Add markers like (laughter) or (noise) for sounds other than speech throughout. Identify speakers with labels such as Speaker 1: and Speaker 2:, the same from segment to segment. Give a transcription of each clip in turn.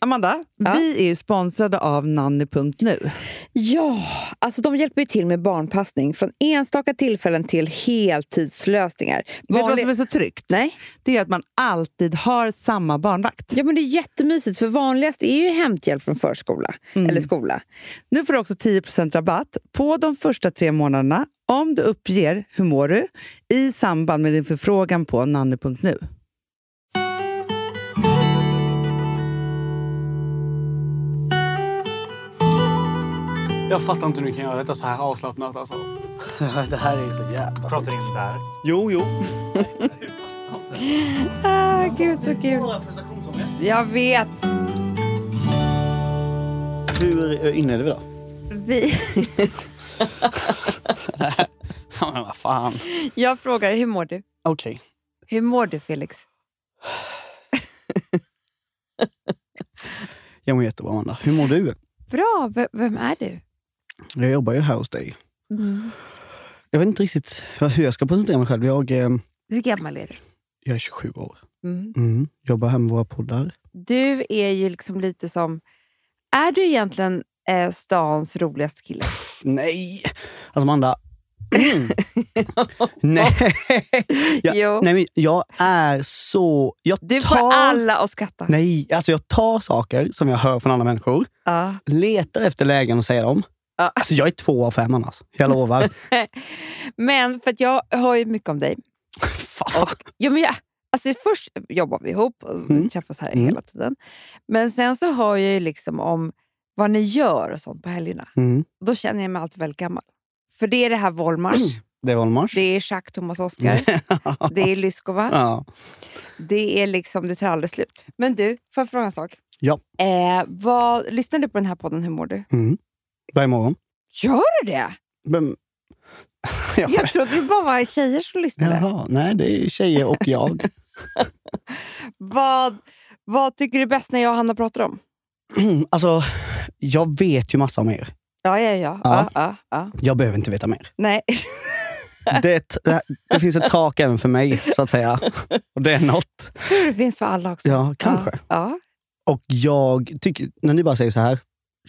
Speaker 1: Amanda,
Speaker 2: Ja.
Speaker 1: vi är ju sponsrade av nanny.nu.
Speaker 2: Ja, alltså de hjälper ju till med barnpassning från enstaka tillfällen till heltidslösningar.
Speaker 1: Vet du vad
Speaker 2: Vanlig-
Speaker 1: som är så tryggt?
Speaker 2: Nej.
Speaker 1: Det är att man alltid har samma barnvakt.
Speaker 2: Ja, men det är jättemysigt, för vanligast är ju hämthjälp från förskola
Speaker 3: Mm.
Speaker 2: eller skola.
Speaker 1: Nu får du också 10 rabatt på de första tre månaderna om du uppger hur mår du i samband med din förfrågan på nanny.nu.
Speaker 4: Jag fattar inte hur ni kan göra detta så här avslappnat. Alltså.
Speaker 5: (laughs) Det här är så jävla...
Speaker 6: Pratar in sådär.
Speaker 4: Jo, jo.
Speaker 2: Ah, gud så kul! Jag vet!
Speaker 5: Hur eh,
Speaker 4: (laughs)
Speaker 5: inledde vi då?
Speaker 3: Vi, (laughs)
Speaker 5: Ja, men vad fan.
Speaker 3: jag frågar, hur mår du?
Speaker 5: Okej.
Speaker 3: Hur mår du Felix?
Speaker 5: Jag mår jättebra, Amanda. Hur mår du?
Speaker 3: Bra, v- vem är du?
Speaker 5: Jag jobbar ju här hos dig.
Speaker 2: Mm.
Speaker 5: Jag vet inte riktigt hur jag ska presentera mig själv. Jag, eh,
Speaker 3: Hur gammal är du?
Speaker 5: jag är 27 år.
Speaker 3: Mm.
Speaker 5: Mm. Jobbar här med våra poddar.
Speaker 3: Du är ju liksom lite som... Är du egentligen eh, stans roligaste kille?
Speaker 5: Pff, nej! Alltså
Speaker 4: (laughs)
Speaker 5: Amanda. nej. Jag,
Speaker 3: Jo.
Speaker 5: nej men jag är så... Jag
Speaker 3: Du
Speaker 5: tar,
Speaker 3: får alla att skratta.
Speaker 5: Nej, alltså jag tar saker som jag hör från andra människor.
Speaker 3: Ja.
Speaker 5: Letar efter lägen att säga dem.
Speaker 3: Ja.
Speaker 5: Alltså jag är två av fem annars. Jag
Speaker 3: (laughs)
Speaker 5: lovar.
Speaker 3: Men för att jag hör ju mycket om dig.
Speaker 5: Fan.
Speaker 3: Ja, men jag, alltså först jobbar vi ihop och
Speaker 5: Mm.
Speaker 3: träffas här
Speaker 5: Mm.
Speaker 3: hela tiden. Men sen så hör jag ju liksom om vad ni gör och sånt på helgerna.
Speaker 5: Mm.
Speaker 3: Och då känner jag mig alltid väldigt gammal. För det är det här Wollmars,
Speaker 5: Det var en marsch.
Speaker 3: det är Jacques Thomas Oskar,
Speaker 5: (laughs)
Speaker 3: det är Lyskova,
Speaker 5: Ja.
Speaker 3: det är liksom, det tar aldrig slut. Men du, får jag fråga en sak?
Speaker 5: Ja.
Speaker 3: Eh, vad, lyssnar du på den här podden Hur mår du?
Speaker 5: Mm. Varje morgon.
Speaker 3: Gör du det?
Speaker 5: (laughs) Men, ja.
Speaker 3: Jag trodde det bara var tjejer som lyssnade.
Speaker 5: Jaha, nej det är tjejer och
Speaker 3: (clears throat)
Speaker 5: jag.
Speaker 3: Vad, vad tycker du är bäst när jag och Hanna pratar om?
Speaker 5: alltså, jag vet ju massa om er.
Speaker 3: Ja, ja, ja. ja.
Speaker 5: Ja.
Speaker 3: ja, ja.
Speaker 5: Jag behöver inte
Speaker 3: (laughs)
Speaker 5: veta mer.
Speaker 3: Nej.
Speaker 5: Det, det, det finns ett tak även för mig, så
Speaker 3: (laughs)
Speaker 5: att säga. Och det är något.
Speaker 3: tror det finns för alla också.
Speaker 5: Ja, kanske.
Speaker 3: Ja.
Speaker 5: Och jag tycker, när ni bara säger så här,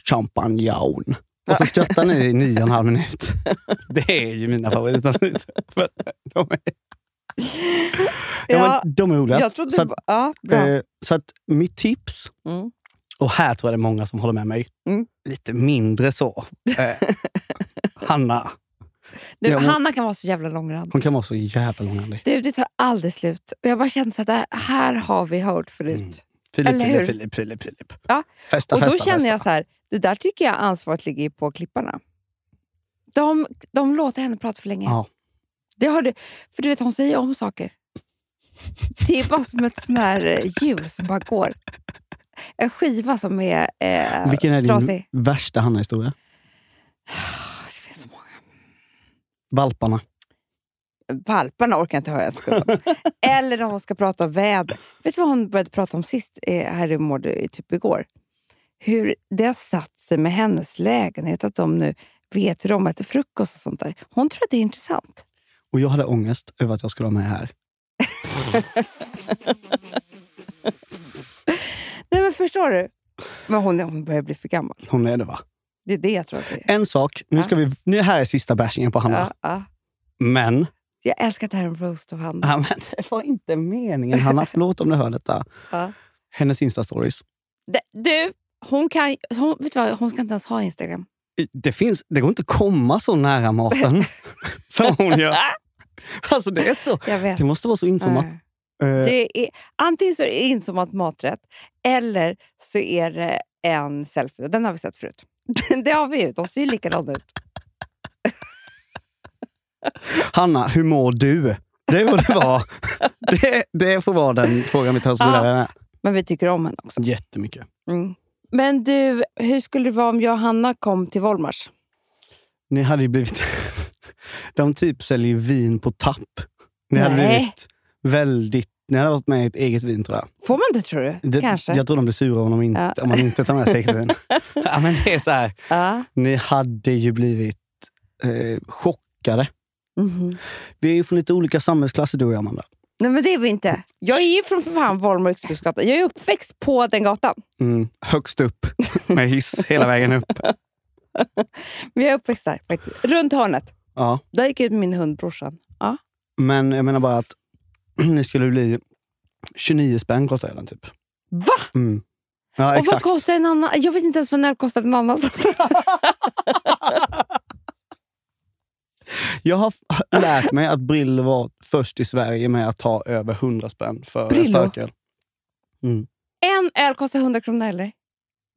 Speaker 5: champagnejaun. Och så skrattar ni i nio och en halv
Speaker 3: (laughs)
Speaker 5: minut. Det är ju mina favoritavsnitt. För att de är,
Speaker 3: Ja.
Speaker 5: ja, men, de är
Speaker 3: Ja.
Speaker 5: roligast.
Speaker 3: Jag trodde
Speaker 5: så,
Speaker 3: det
Speaker 5: att,
Speaker 3: var... Ja, bra.
Speaker 5: eh, så att mitt tips,
Speaker 3: Mm.
Speaker 5: och här tror jag det är många som håller med mig,
Speaker 3: Mm.
Speaker 5: lite mindre så.
Speaker 3: (laughs)
Speaker 5: Eh, Hanna,
Speaker 3: Du,
Speaker 5: jag må-
Speaker 3: Hanna kan vara så jävla långrandig.
Speaker 5: hon kan vara så jävla långrandig.
Speaker 3: Du, det tar aldrig slut. Och jag bara kände så att det här har vi hört förut.
Speaker 5: Mm. Filip,
Speaker 3: Eller hur?
Speaker 5: Filip, Filip, Filip, Filip.
Speaker 3: Ja,
Speaker 5: Festa,
Speaker 3: och då
Speaker 5: festa,
Speaker 3: känner
Speaker 5: festa.
Speaker 3: jag så här, det där tycker jag ansvaret ligger ju på klipparna. De, de låter henne prata för länge.
Speaker 5: Ja.
Speaker 3: Det har du, för du vet, hon säger om saker. Det är bara som ett sån här eh, hjul som bara går. En skiva som är eh,
Speaker 5: Vilken är din
Speaker 3: trasig.
Speaker 5: värsta Hanna-historia?
Speaker 3: Ah, Det finns så många.
Speaker 5: Valparna.
Speaker 3: valparna orkar jag inte höra en sekund
Speaker 5: (laughs)
Speaker 3: om. Eller när hon ska prata om väder. Vet du vad hon började prata om sist eh, här i Mård, typ igår? Hur det har satt sig med hennes lägenhet, att de nu vet hur de äter frukost och sånt där. Hon tror att det är intressant.
Speaker 5: Och jag hade ångest över att jag skulle vara med här.
Speaker 3: Nej men förstår du? Men hon, hon börjar bli för gammal.
Speaker 5: Hon är det va?
Speaker 3: Det är det jag tror att det är.
Speaker 5: En sak, nu ska vi... Nu här är sista bashingen på Hanna.
Speaker 3: Ja, ja.
Speaker 5: Men... (laughs)
Speaker 3: Jag älskar att det här är en roast av Hanna.
Speaker 5: Ja, men det var inte
Speaker 3: (laughs)
Speaker 5: meningen Hanna. Förlåt om du hör detta.
Speaker 3: Ja.
Speaker 5: Hennes Insta-stories.
Speaker 3: Det- Du, hon, kan, hon, vet du vad, hon ska inte ens ha Instagram.
Speaker 5: Det, finns, det går inte att komma så
Speaker 3: (laughs)
Speaker 5: nära maten som hon gör. Alltså det är så.
Speaker 3: Jag vet.
Speaker 5: Det måste vara så insommat.
Speaker 3: Nej.
Speaker 5: Eh,
Speaker 3: Det är, antingen så är det insommat maträtt eller så är det en selfie. Och den har vi sett förut. (laughs) det har vi ju. De ser ju likadana ut.
Speaker 5: Hanna, hur mår du? Det får det
Speaker 3: (laughs)
Speaker 5: vara. det, det får vara den frågan vi tar oss
Speaker 3: Ja.
Speaker 5: vidare med.
Speaker 3: Men vi tycker om henne också.
Speaker 5: Jättemycket.
Speaker 3: Mm. Men du, hur skulle det vara om jag och Hanna kom till Volmars?
Speaker 5: Ni hade ju blivit... (laughs) De typ säljer vin på tapp. Ni hade
Speaker 3: Nej.
Speaker 5: blivit väldigt... Ni hade varit med i ett eget vin tror jag.
Speaker 3: Får man det tror du?
Speaker 5: Det,
Speaker 3: Kanske.
Speaker 5: Jag tror de blir sura om, de inte, om man inte tar med
Speaker 3: (laughs)
Speaker 5: sig äkta vin. (laughs) ja, men det är så här.
Speaker 3: Ja.
Speaker 5: Ni hade ju blivit eh, chockade.
Speaker 3: Mhm.
Speaker 5: Vi är ju från lite olika samhällsklasser du och jag Amanda.
Speaker 3: Nej, men det är vi inte. Jag är ju från för fan Vollmarksgatan. Jag är uppväxt på den gatan.
Speaker 5: Mm,
Speaker 3: (laughs)
Speaker 5: högst upp med hiss hela vägen upp.
Speaker 3: Men jag är uppväxt där faktiskt. Runt hörnet.
Speaker 5: Ja.
Speaker 3: Där gick ut min hund, brorsan. Ja.
Speaker 5: Men jag menar bara att (clears throat) ni skulle bli 29 spänn kostar den typ.
Speaker 3: Va?
Speaker 5: Mm. Ja,
Speaker 3: Och vad
Speaker 5: exakt.
Speaker 3: kostar en annan? Jag vet inte ens vad en öl kostar en annan. (laughs)
Speaker 5: Jag har f- lärt mig att Brillo var först i Sverige med att ta över 100 spänn för en
Speaker 3: Brillo?
Speaker 5: starköl.
Speaker 3: En öl kostar 100 kronor, eller?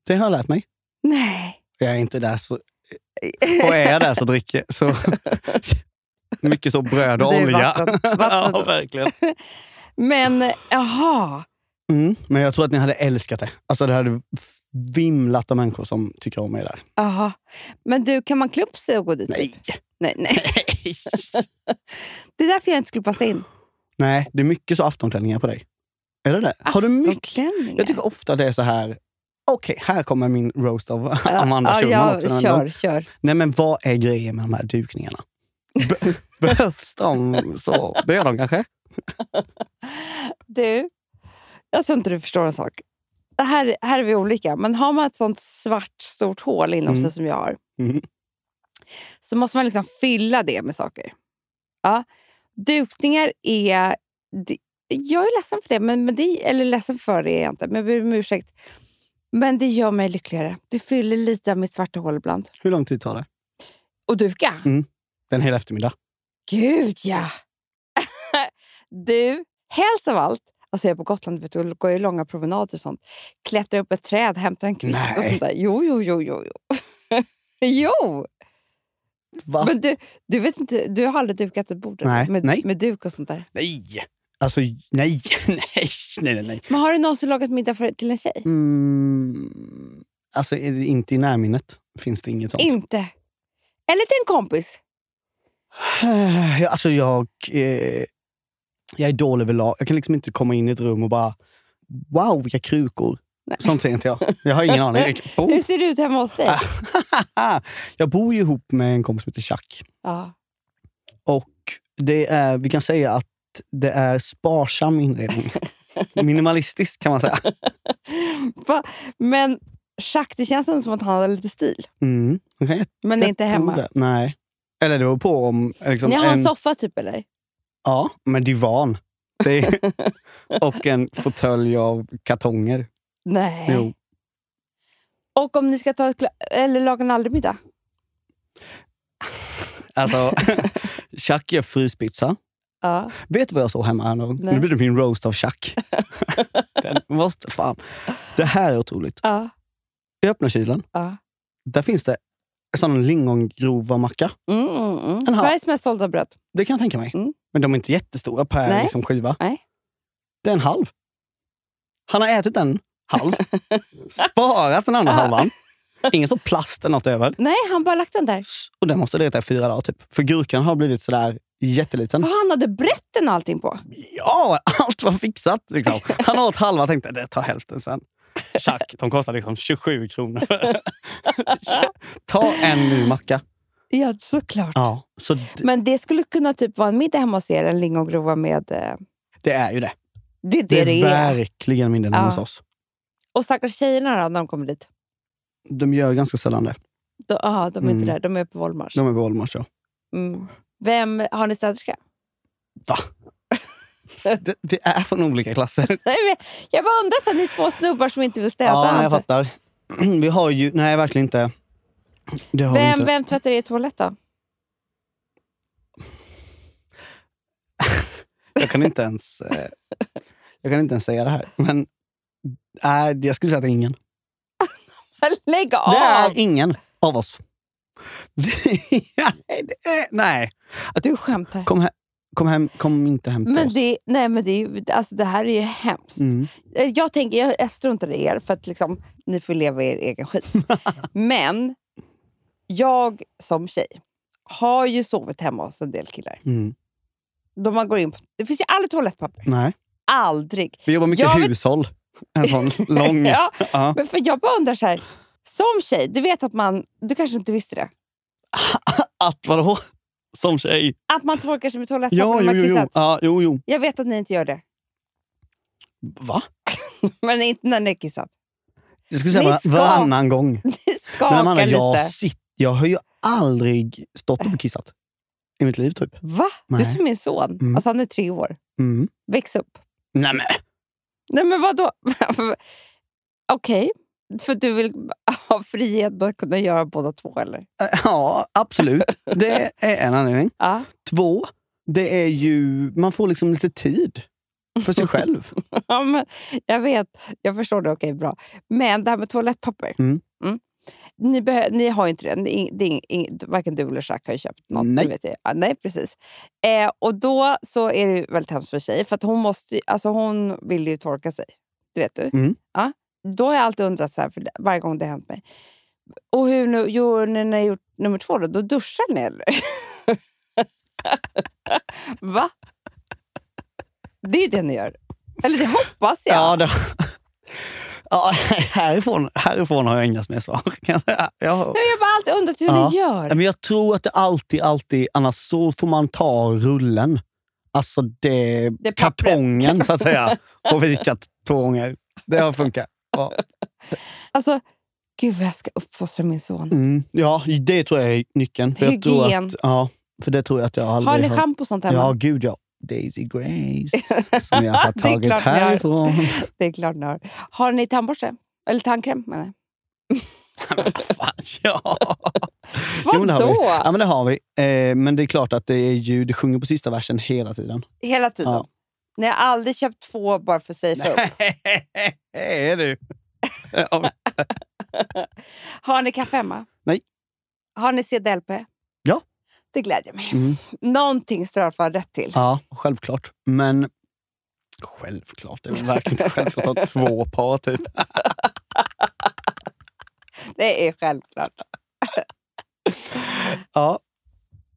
Speaker 5: Det har jag lärt mig.
Speaker 3: Nej.
Speaker 5: Jag är inte där så... Och är jag där så dricker jag. så... Mycket så bröd och
Speaker 3: Det är
Speaker 5: olja.
Speaker 3: vatten.
Speaker 5: ja,
Speaker 3: Vatten.
Speaker 5: verkligen.
Speaker 3: Men, eh, jaha.
Speaker 5: Mm. Men jag tror att ni hade älskat det. Alltså det hade vimlat av människor som tycker om er där.
Speaker 3: Aha. Men du, kan man klä upp sig och gå dit?
Speaker 5: Nej.
Speaker 3: nej, nej. Det är därför jag inte skulle passa in.
Speaker 5: Nej, det är mycket så aftonklänningar på dig. Är det det? Har du mycket?
Speaker 3: Aftonklänningar.
Speaker 5: Jag tycker ofta det är så här... Okej, här kommer min roast av Amanda
Speaker 3: ja,
Speaker 5: Schulman
Speaker 3: ja,
Speaker 5: också. Men
Speaker 3: Kör,
Speaker 5: de-
Speaker 3: kör.
Speaker 5: Nej, men vad är grejen med de här dukningarna? Be- (laughs) Behövs de så? Det gör de kanske?
Speaker 3: Du, jag tror inte du förstår en sak. Det Här, här är vi olika, men har man ett sånt svart stort hål inom
Speaker 5: Mm.
Speaker 3: sig som jag har
Speaker 5: Mm.
Speaker 3: så måste man liksom fylla det med saker. Ja. Dukningar är... det- Jag är ledsen för det, men, men det, eller ledsen för det är jag inte, men jag ber om ursäkt. Men det gör mig lyckligare. Det fyller lite av mitt svarta hål ibland.
Speaker 5: Hur lång tid tar det?
Speaker 3: Och duka!
Speaker 5: En hel eftermiddag.
Speaker 3: Gud, ja! (laughs) du, helst av allt, alltså jag är på Gotland vet du, och går ju långa promenader och sånt. Klättrar upp ett träd, hämtar en kvist och
Speaker 5: Nej.
Speaker 3: sånt där. Jo, jo, jo, jo. jo. (laughs) jo!
Speaker 5: Va?
Speaker 3: Men du, du, vet inte, du har aldrig dukat ett bord eller?
Speaker 5: Nej,
Speaker 3: med,
Speaker 5: nej.
Speaker 3: med duk och sånt där.
Speaker 5: Nej! Alltså, nej, (laughs) nej, nej, nej. nej.
Speaker 3: Men har du någonsin lagat middag för, till en tjej?
Speaker 5: Mm, alltså, är det inte i närminnet finns det inget sånt. (sighs)
Speaker 3: Inte. Eller till en kompis.
Speaker 5: Jag- Alltså jag, eh, jag är dålig överlag. Jag kan liksom inte komma in i ett rum och bara wow vilka krukor. Sånt säger inte jag. Jag har ingen (laughs) aning. Jag, bor,
Speaker 3: Hur ser det ut hemma hos dig?
Speaker 5: Ah. jag bor ju ihop med en kompis som heter Chuck.
Speaker 3: Ja. (laughs)
Speaker 5: Och det är, vi kan säga att det är sparsam inredning.
Speaker 3: (laughs)
Speaker 5: Minimalistisk kan man säga.
Speaker 3: Va? Men Jacques, det känns ändå som att han har lite stil.
Speaker 5: Mm. Man kan
Speaker 3: Men
Speaker 5: jag
Speaker 3: inte
Speaker 5: tror
Speaker 3: hemma.
Speaker 5: det. Nej. Eller det beror på om... Liksom,
Speaker 3: Ni har en
Speaker 5: en-
Speaker 3: soffa typ eller?
Speaker 5: Ja, med divan. Det
Speaker 3: (laughs)
Speaker 5: är, och en fåtölj av kartonger.
Speaker 3: Nej.
Speaker 5: Jo.
Speaker 3: Och om ni ska ta ett gla- eller laga en aldrig-middag? (laughs)
Speaker 5: Alltså, Chuck gör fryspizza.
Speaker 3: Ja.
Speaker 5: Vet du vad jag såg hemma? här nu?
Speaker 3: Nej.
Speaker 5: Nu blir det min roast
Speaker 3: (laughs)
Speaker 5: av Chuck. Den måste, fan. Det här är otroligt.
Speaker 3: Ja.
Speaker 5: Jag öppnar kylen.
Speaker 3: Ja.
Speaker 5: Där finns det en sån lingongrova macka.
Speaker 3: Mm, mm, mm.
Speaker 5: Jaha.
Speaker 3: Sveriges mest sålda bröd.
Speaker 5: Det kan jag tänka mig.
Speaker 3: Mm.
Speaker 5: Men de är inte jättestora per
Speaker 3: Nej.
Speaker 5: liksom, skiva.
Speaker 3: Nej.
Speaker 5: Det är en halv. Han har ätit en
Speaker 3: (laughs)
Speaker 5: halv, sparat den andra halvan. Ingen så plast eller något över.
Speaker 3: Nej, han bara lagt den där.
Speaker 5: S- Och den måste ha legat där i fyra dagar typ. För gurkan har blivit sådär jätteliten.
Speaker 3: Och han hade brett den och allting på.
Speaker 5: Ja, allt var fixat. Liksom. Han åt halva och tänkte det tar hälften sen. Tjack, de kostar liksom 27 kronor. (laughs) För. Ta en ny macka.
Speaker 3: Ja, såklart.
Speaker 5: Ja, så d-
Speaker 3: Men det skulle kunna typ vara en middag hemma hos er, en lingongrova med... eh,
Speaker 5: det är ju det.
Speaker 3: Det är det
Speaker 5: Det
Speaker 3: det,
Speaker 5: är,
Speaker 3: är.
Speaker 5: verkligen mindre än
Speaker 3: Ja.
Speaker 5: hos oss.
Speaker 3: Och stackars tjejerna då, när de kommer dit?
Speaker 5: De gör ganska sällan det.
Speaker 3: Då, aha, de är
Speaker 5: Mm.
Speaker 3: inte där, de är på Wollmars.
Speaker 5: De är på Ålmars, ja.
Speaker 3: Mm. Vem, har ni städerska?
Speaker 5: Det, det är från olika klasser.
Speaker 3: Nej, men jag bara undrar, så här, ni två snubbar som inte vill städa.
Speaker 5: Ja, nej, jag fattar. (clears throat) Vi har ju... Nej, verkligen inte. Det har vi
Speaker 3: vem,
Speaker 5: inte.
Speaker 3: vem tvättar er toalett då? (laughs)
Speaker 5: Jag kan inte ens, eh, jag kan inte ens säga det här. Men nej, jag skulle säga att det är ingen.
Speaker 3: Lägg av!
Speaker 5: Det är ingen av oss. (laughs) Nej, det är- nej,
Speaker 3: Du skämtar.
Speaker 5: kom, he, kom, hem, kom inte hem till
Speaker 3: Men
Speaker 5: oss.
Speaker 3: det, nej, men det, är ju- alltså, det här är ju hemskt.
Speaker 5: Mm.
Speaker 3: Eh, Jag, tänker, jag, jag struntar i er, för att liksom, ni får leva er egen
Speaker 5: (laughs)
Speaker 3: skit. men jag som tjej har ju sovit hemma hos en del killar.
Speaker 5: Mm.
Speaker 3: Då man går in på, det finns ju aldrig toalettpapper.
Speaker 5: Nej.
Speaker 3: Aldrig.
Speaker 5: Vi jobbar mycket
Speaker 3: Jag vet- (laughs)
Speaker 5: hushåll. En sån lång...
Speaker 3: Ja,
Speaker 5: Ja.
Speaker 3: men för jag bara undrar så här. Som tjej, du vet att man... Du kanske inte visste det.
Speaker 5: Att vadå? Som tjej.
Speaker 3: Att man torkar sig med
Speaker 5: Ja,
Speaker 3: toalettpapper när man
Speaker 5: jo, jo, Ah. jo.
Speaker 3: kissat.
Speaker 5: Ja, jo, jo.
Speaker 3: Jag vet att ni inte gör det,
Speaker 5: Va?
Speaker 3: (laughs) men inte när ni har kissat.
Speaker 5: Jag skulle säga
Speaker 3: Ni
Speaker 5: var-
Speaker 3: ska-
Speaker 5: varannan gång.
Speaker 3: Ni
Speaker 5: Men
Speaker 3: skakar
Speaker 5: Amanda,
Speaker 3: lite.
Speaker 5: jag, sitt, jag har ju aldrig stått upp och kissat. I mitt liv typ.
Speaker 3: Va? Du är
Speaker 5: Nej.
Speaker 3: som min son.
Speaker 5: Mm.
Speaker 3: Alltså, han är tre år.
Speaker 5: Mm.
Speaker 3: Väx upp.
Speaker 5: Nej, men.
Speaker 3: Nej, men vadå? (laughs) Okej, för du vill (laughs) ha frihet att kunna göra båda två, eller?
Speaker 5: eh, Ja,
Speaker 3: (laughs)
Speaker 5: absolut. Det är en anledning.
Speaker 3: Ja.
Speaker 5: Två, det är ju... Man får liksom lite tid för sig själv.
Speaker 3: (laughs) Ja, men jag vet. Jag förstår det. Okej, bra. Men det här med toalettpapper.
Speaker 5: Mm.
Speaker 3: Ni, behö- ni har ju inte det. Ni, det är ing- ing- varken du eller Jack har ju köpt något. det
Speaker 5: Nej.
Speaker 3: Vet jag. Ja, nej, precis. Eh, och då så är det ju väldigt hemskt för tjejer. För att hon, måste, ju- alltså hon vill ju torka sig. Det vet du.
Speaker 5: Mm.
Speaker 3: Ja. Då har jag alltid undrat så här, för det- varje gång det har hänt mig. Och hur nu, jo, när ni har gjort nummer två då? Då duschar ni eller? (laughs) Va? Det är ju det ni gör. Eller det hoppas jag.
Speaker 5: Ja, det, ja, härifrån, härifrån har jag inga mer svar. kan jag säga. Jag,
Speaker 3: Nej, men jag har bara alltid undrat hur
Speaker 5: Ja.
Speaker 3: ni gör.
Speaker 5: men jag tror att det alltid, alltid... Annars så får man ta rullen. Alltså det,
Speaker 3: Det pappret.
Speaker 5: kartongen så att säga. Och vikat två gånger. Det har funkat. Ja.
Speaker 3: Alltså, gud vad jag ska uppfostra min son.
Speaker 5: Mm. ja, det tror jag är nyckeln. För jag tror
Speaker 3: Hygien.
Speaker 5: att, ja, för det tror jag att jag aldrig
Speaker 3: Har ni schampo och sånt hemma?
Speaker 5: Ja, gud ja. Daisy
Speaker 3: (laughs)
Speaker 5: Grace, som jag har
Speaker 3: Det är klart ni
Speaker 5: tagit
Speaker 3: har.
Speaker 5: härifrån.
Speaker 3: (laughs) Det är klart ni har. Har ni tandborste? Eller tandkräm menar jag.
Speaker 5: Fan, ja. Jo, men det har vi.
Speaker 3: Vadå?
Speaker 5: ja, men det har vi. Eh, men det är klart att det är ju, det sjunger på sista versen
Speaker 3: (laughs)
Speaker 5: hela tiden.
Speaker 3: Hela tiden?
Speaker 5: Ja.
Speaker 3: Ni har aldrig köpt två bara för sig upp?
Speaker 5: är du?
Speaker 3: (laughs)
Speaker 5: Ja.
Speaker 3: Har ni kaffe hemma?
Speaker 5: Nej.
Speaker 3: Har ni CDLP?
Speaker 5: Ja.
Speaker 3: Det glädjer mig.
Speaker 5: Mm.
Speaker 3: Någonting står jag för rätt till.
Speaker 5: ja, självklart. Men självklart, det är väl verkligen inte självklart att ha två par typ.
Speaker 3: Det är självklart.
Speaker 5: Ja.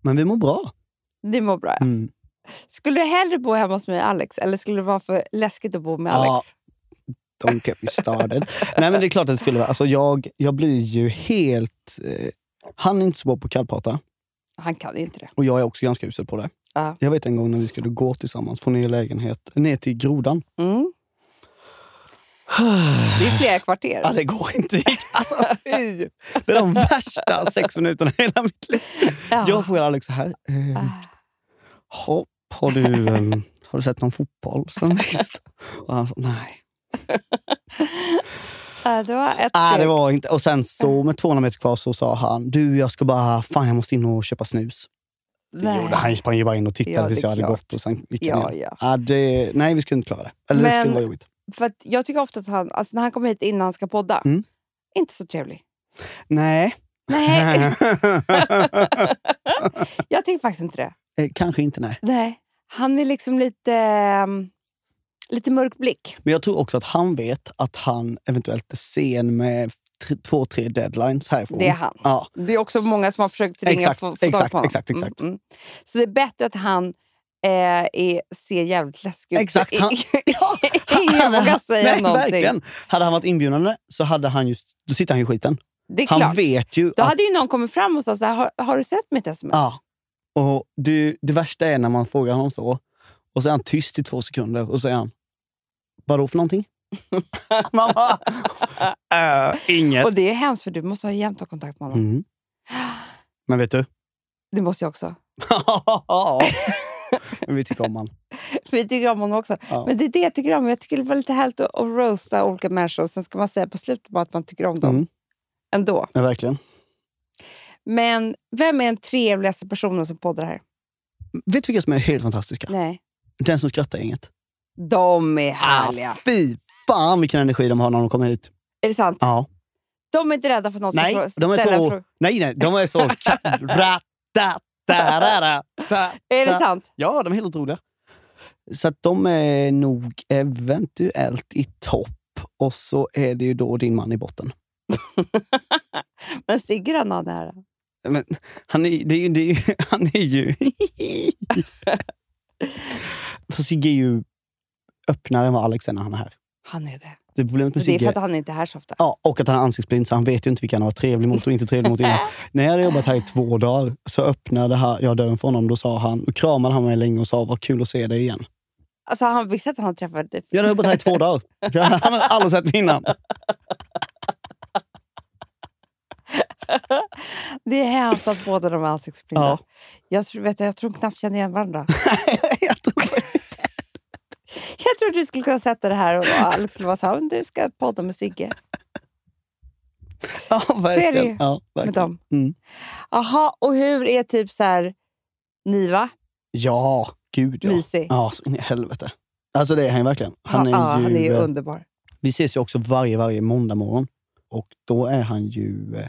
Speaker 5: Men vi mår bra.
Speaker 3: Ni mår bra. ja.
Speaker 5: Mm.
Speaker 3: Skulle du hellre bo hemma hos mig och Alex? Eller skulle det vara för läskigt att bo med
Speaker 5: Ja.
Speaker 3: Alex?
Speaker 5: Don't get me started. Nej, men det är klart att det skulle vara. Alltså, jag, jag blir ju helt... Eh, han är inte så bra på kallprata.
Speaker 3: Han kan ju inte det.
Speaker 5: Och jag är också ganska usel på det.
Speaker 3: Ja.
Speaker 5: Jag vet en gång när vi skulle gå tillsammans från er lägenhet ner till
Speaker 3: (sighs)
Speaker 5: grodan.
Speaker 3: Mm. Det är flera kvarter.
Speaker 5: Ja, det
Speaker 3: (laughs)
Speaker 5: går inte. Alltså, fy! Det är de värsta sex minuterna i hela mitt liv.
Speaker 3: Ja.
Speaker 5: Jag frågar Alex så här. Eh, hopp, har du, eh, har du sett någon fotboll sen sist? Och han sa nej.
Speaker 3: Ja, det var ett
Speaker 5: Nej, det
Speaker 3: steg.
Speaker 5: var inte. Och sen så med 200 meter kvar så sa han, du jag ska bara, fan jag måste in och köpa snus. Det
Speaker 3: Nej.
Speaker 5: gjorde han. Han sprang ju bara in och tittade
Speaker 3: Ja, det är
Speaker 5: tills jag hade
Speaker 3: klart.
Speaker 5: gått och sen gick han
Speaker 3: Ja,
Speaker 5: igen.
Speaker 3: ja.
Speaker 5: ja, det, Nej, vi skulle inte klara det. Eller det
Speaker 3: Men-
Speaker 5: skulle vara jobbigt.
Speaker 3: För att jag tycker ofta att han, alltså när han kommer hit innan han ska podda,
Speaker 5: Mm.
Speaker 3: inte så trevlig.
Speaker 5: Nej. (laughs)
Speaker 3: Nej, jag tycker faktiskt inte det.
Speaker 5: Eh, Kanske inte, nej.
Speaker 3: Nej. Han är liksom lite, ehm, lite mörk blick.
Speaker 5: Men jag tror också att han vet att han eventuellt är sen med tre, två, tre deadlines härifrån.
Speaker 3: Det är han. (laughs)
Speaker 5: Ja.
Speaker 3: Det är också många som har försökt ringa och
Speaker 5: Exakt,
Speaker 3: få, få tag
Speaker 5: exakt,
Speaker 3: på honom.
Speaker 5: exakt, exakt.
Speaker 3: Mm, mm. Så det är bättre att han eh, är, ser jävligt läskig ut.
Speaker 5: Exakt, han-
Speaker 3: Ja, Ingen
Speaker 5: Hade
Speaker 3: vågar
Speaker 5: han-
Speaker 3: säga
Speaker 5: (laughs) nej,
Speaker 3: någonting.
Speaker 5: Verkligen. Hade han varit inbjudande så hade han just, då sitter han ju i skiten.
Speaker 3: Det är
Speaker 5: Han
Speaker 3: klart.
Speaker 5: vet ju
Speaker 3: Då
Speaker 5: att...
Speaker 3: hade ju någon kommit fram och sagt så här, har, har du sett mitt sms?
Speaker 5: Ja. Och det, det värsta är när man frågar honom så och så är han tyst i två sekunder och så är han... Vadå för någonting? man bara... "Eh, inget.
Speaker 3: Och det är hemskt för du måste ha jämt ha kontakt med honom.
Speaker 5: Mm. Men vet du?
Speaker 3: Det måste jag också.
Speaker 5: Men vi tycker om han.
Speaker 3: För vi tycker om honom också.
Speaker 5: Ja.
Speaker 3: Men det är det jag tycker om. Jag tycker det var lite härligt att, att roasta olika människor och sen ska man säga på slutet bara att man tycker om dem.
Speaker 5: Mm.
Speaker 3: Ändå.
Speaker 5: Ja, verkligen.
Speaker 3: Men vem är den trevligaste personen som poddar här?
Speaker 5: Vet du vilka som är helt fantastiska?
Speaker 3: Nej.
Speaker 5: Den som skrattar inget.
Speaker 3: De
Speaker 5: Ah.
Speaker 3: är härliga.
Speaker 5: fy fan vilken energi de har när de kommer hit.
Speaker 3: Är det sant?
Speaker 5: Ja.
Speaker 3: De är inte rädda för någon som
Speaker 5: Nej,
Speaker 3: frå-
Speaker 5: de är
Speaker 3: ställer en
Speaker 5: så-
Speaker 3: fråga.
Speaker 5: Nej, nej, de är så... Ra, da, da, da, da, da.
Speaker 3: Är det sant?
Speaker 5: Ja, de är helt otroliga. Så att de är nog eventuellt i topp och så är det ju då din man i botten.
Speaker 3: Men Sigge han har nära.
Speaker 5: Men han är, det är, ju- det är, ju- (laughs) han är ju... För Sigge är ju öppnare än vad Alex är när han är här.
Speaker 3: Han är det.
Speaker 5: Det är problemet med
Speaker 3: Det är för
Speaker 5: Sigge.
Speaker 3: att han inte är här så ofta.
Speaker 5: Ja, och att han är ansiktsblind, så han vet ju inte vilka han var trevlig mot och inte trevlig
Speaker 3: (laughs)
Speaker 5: mot innan. När jag hade jobbat här i två dagar så öppnade här, jag dörren för honom. Då sa han, och kramade han mig länge och sa vad kul att se dig igen.
Speaker 3: Alltså, han visste att han träffade dig.
Speaker 5: Jag hade jobbat här i två (laughs) dagar. Jag hade aldrig sett mig innan.
Speaker 3: Det är hemskt att båda de är ansiktsblinda.
Speaker 5: Ja.
Speaker 3: Jag, tror, vet du, jag tror knappt känner igen varandra. (laughs)
Speaker 5: (laughs) Jag tror-
Speaker 3: Jag tror du skulle kunna sätta det här och Alex skulle vara så här, "Men du ska podda med Sigge.
Speaker 5: ja,
Speaker 3: Ser du ju.
Speaker 5: verkligen. Ja,
Speaker 3: Med
Speaker 5: verkligen.
Speaker 3: dem.
Speaker 5: Mm.
Speaker 3: Aha, och hur är typ så här, Niva?
Speaker 5: ja gud ja.
Speaker 3: Mysig.
Speaker 5: Ja, så in i helvete. Alltså det är han ju verkligen. Han är
Speaker 3: ja,
Speaker 5: ju,
Speaker 3: han är ju
Speaker 5: eh,
Speaker 3: underbar.
Speaker 5: Vi ses ju också varje, varje måndag morgon. Och då är han ju eh,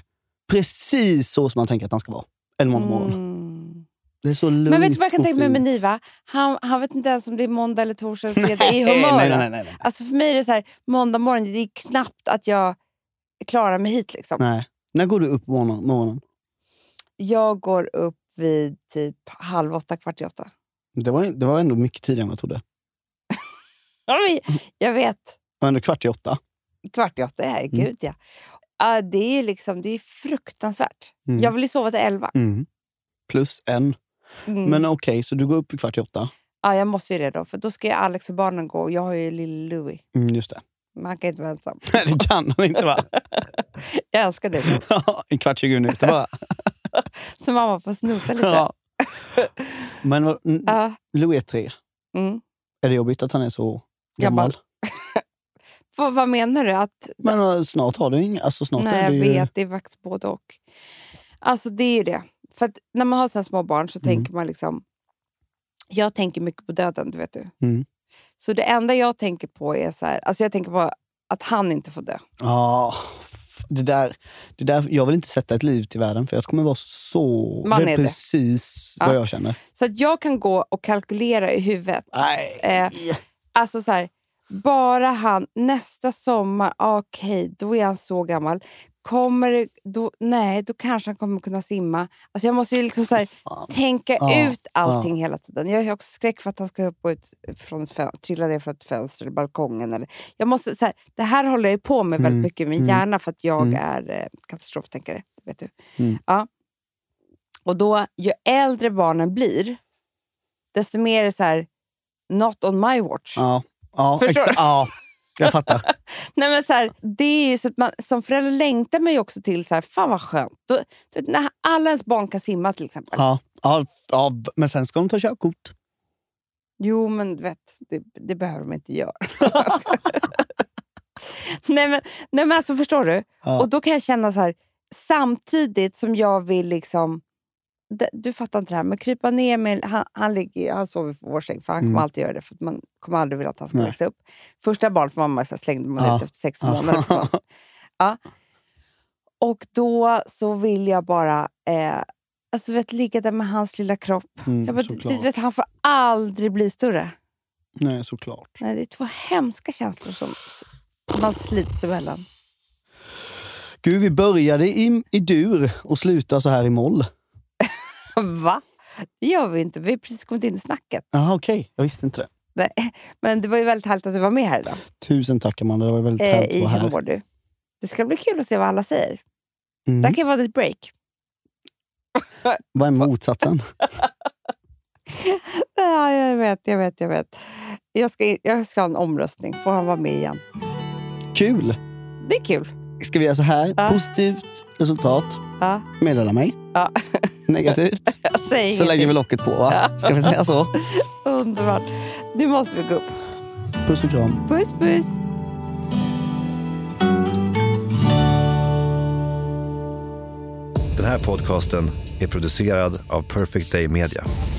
Speaker 5: precis så som man tänker att han ska vara. En måndag morgon.
Speaker 3: Mm.
Speaker 5: Det är så lugnt
Speaker 3: Men vet du vad jag kan
Speaker 5: och
Speaker 3: tänka mig med
Speaker 5: fint.
Speaker 3: Niva? Han, han vet inte ens om det är måndag eller torsdag eller
Speaker 5: (laughs)
Speaker 3: fredag i humöret.
Speaker 5: Nej, nej, nej, nej, nej.
Speaker 3: Alltså för mig är det så här, måndag morgon, det är knappt att jag klarar mig hit. Liksom.
Speaker 5: nej. När går du upp på morgonen? morgonen?
Speaker 3: Jag går upp vid typ halv åtta, kvart i åtta.
Speaker 5: Det, var, det var ändå mycket tidigare än vad jag trodde.
Speaker 3: Oj, Jag vet,
Speaker 5: Det var ändå kvart i åtta.
Speaker 3: kvart i åtta,
Speaker 5: Mm.
Speaker 3: herregud ja. Ah, det är liksom, det är fruktansvärt.
Speaker 5: Mm.
Speaker 3: Jag vill ju sova till elva.
Speaker 5: Mm. Plus en.
Speaker 3: Mm.
Speaker 5: Men okej, så du går upp vid kvart i åtta.
Speaker 3: Ja, jag måste ju det då, för då ska ju Alex och barnen gå och jag har ju lille Louis.
Speaker 5: Mm, just det. (laughs)
Speaker 3: Men han kan inte vara ensam.
Speaker 5: Nej, det kan han inte va?
Speaker 3: Jag älskar det.
Speaker 5: (laughs) en kvart, 20 minuter bara.
Speaker 3: Så mamma får snosa lite. (laughs) Ja.
Speaker 5: Ja. (laughs) Men vad- mm, Louis är tre.
Speaker 3: Mm.
Speaker 5: Är det jobbigt att han är så
Speaker 3: Gammal.
Speaker 5: gammal?
Speaker 3: Vad, vad menar du? Att,
Speaker 5: Men eh, snart har du inga... Alltså snart
Speaker 3: nej,
Speaker 5: är
Speaker 3: jag
Speaker 5: det ju...
Speaker 3: vet. Det är faktiskt både och. Alltså, det är ju det. För att när man har sina små barn
Speaker 5: Mm.
Speaker 3: så tänker man liksom... Jag tänker mycket på döden, du vet du.
Speaker 5: Mm.
Speaker 3: Så det enda jag tänker på är så här... Alltså jag tänker på att han inte får dö.
Speaker 5: Ja, f- det där, det där, jag vill inte sätta ett liv till världen för jag kommer vara så...
Speaker 3: Man
Speaker 5: det är,
Speaker 3: är det.
Speaker 5: precis
Speaker 3: Ja.
Speaker 5: vad jag känner.
Speaker 3: Så att jag kan gå och kalkylera i huvudet.
Speaker 5: Nej.
Speaker 3: Eh, Alltså så här, bara han nästa sommar, ah, okej, då är han så gammal. Kommer det- då, nej, då kanske han kommer kunna simma. Alltså jag måste ju liksom så här,
Speaker 5: Fan.
Speaker 3: tänka
Speaker 5: Ja,
Speaker 3: ut allting hela tiden. Jag har ju också skräck för att han ska upp och ut från ett fön- trilla ner från ett fönster eller balkongen. Eller. Jag måste, så här, det här håller jag ju på med väldigt
Speaker 5: Mm,
Speaker 3: mycket i min
Speaker 5: mm,
Speaker 3: hjärna för att jag
Speaker 5: mm.
Speaker 3: är eh, katastroftänkare. Vet du.
Speaker 5: Mm.
Speaker 3: Ja. Och då, ju äldre barnen blir, desto mer är det så här, not on my watch.
Speaker 5: Ja, ja,
Speaker 3: Förstår
Speaker 5: exa-
Speaker 3: du?
Speaker 5: ja, jag fattar.
Speaker 3: Nej, men så här, det är ju så att man, som förälder längtar man ju också till så här, fan vad skönt. Då, du vet, när alla ens barn kan simma till exempel.
Speaker 5: Ja, ja, ja, men sen ska de ta körkort.
Speaker 3: Jo, men du vet, det, det behöver de inte
Speaker 5: (laughs)
Speaker 3: göra. nej, men, nej, men alltså förstår du?
Speaker 5: Ja.
Speaker 3: Och då kan jag känna så här, samtidigt som jag vill liksom... d- Du fattar inte det här, men krypa ner med... Han, han, ligger, han sover i vår säng, för han kommer
Speaker 5: Mm.
Speaker 3: alltid göra det. För att man kommer aldrig vilja att han ska
Speaker 5: Nej.
Speaker 3: växa upp. Första barn för mamma så här, slängde man
Speaker 5: Ja.
Speaker 3: ut efter sex
Speaker 5: Ja.
Speaker 3: månader.
Speaker 5: (laughs)
Speaker 3: på- Ja. Och då så vill jag bara... Eh, alltså, du vet, ligga där med hans lilla kropp.
Speaker 5: Mm,
Speaker 3: Jag bara, du-
Speaker 5: såklart.
Speaker 3: du vet, han får aldrig bli större.
Speaker 5: Nej, såklart.
Speaker 3: Nej, det är två hemska känslor som s- man slits emellan.
Speaker 5: Gud, vi började i, i dur och slutar så här i moll.
Speaker 3: (laughs) Va? Det gör vi inte. Vi har precis kommit in i snacket.
Speaker 5: Jaha, okej. Jag visste inte det.
Speaker 3: Nej. Men det var ju väldigt härligt att du var med här idag.
Speaker 5: Tusen tack, Amanda. Det var väldigt
Speaker 3: Eh,
Speaker 5: härligt att
Speaker 3: I
Speaker 5: vara
Speaker 3: Hur
Speaker 5: här.
Speaker 3: mår du? Det ska bli kul att se vad alla säger.
Speaker 5: Mm.
Speaker 3: Det här kan vara ett break.
Speaker 5: Vad är motsatsen?
Speaker 3: Ja, jag vet, jag vet, jag vet. Jag ska, in- jag ska ha en omröstning. Får han vara med igen?
Speaker 5: Kul!
Speaker 3: Det är kul.
Speaker 5: Ska vi göra så här?
Speaker 3: Ja.
Speaker 5: Positivt resultat,
Speaker 3: Ja.
Speaker 5: meddela mig.
Speaker 3: Ja. (laughs)
Speaker 5: Negativt,
Speaker 3: Jag säger
Speaker 5: så lägger vi
Speaker 3: ingenting.
Speaker 5: locket på. Va? Ska vi
Speaker 3: (laughs)
Speaker 5: säga så?
Speaker 3: Underbart. Nu måste vi gå upp.
Speaker 5: Puss och kram.
Speaker 3: Puss, puss.
Speaker 6: Den här podcasten är producerad av Perfect Day Media.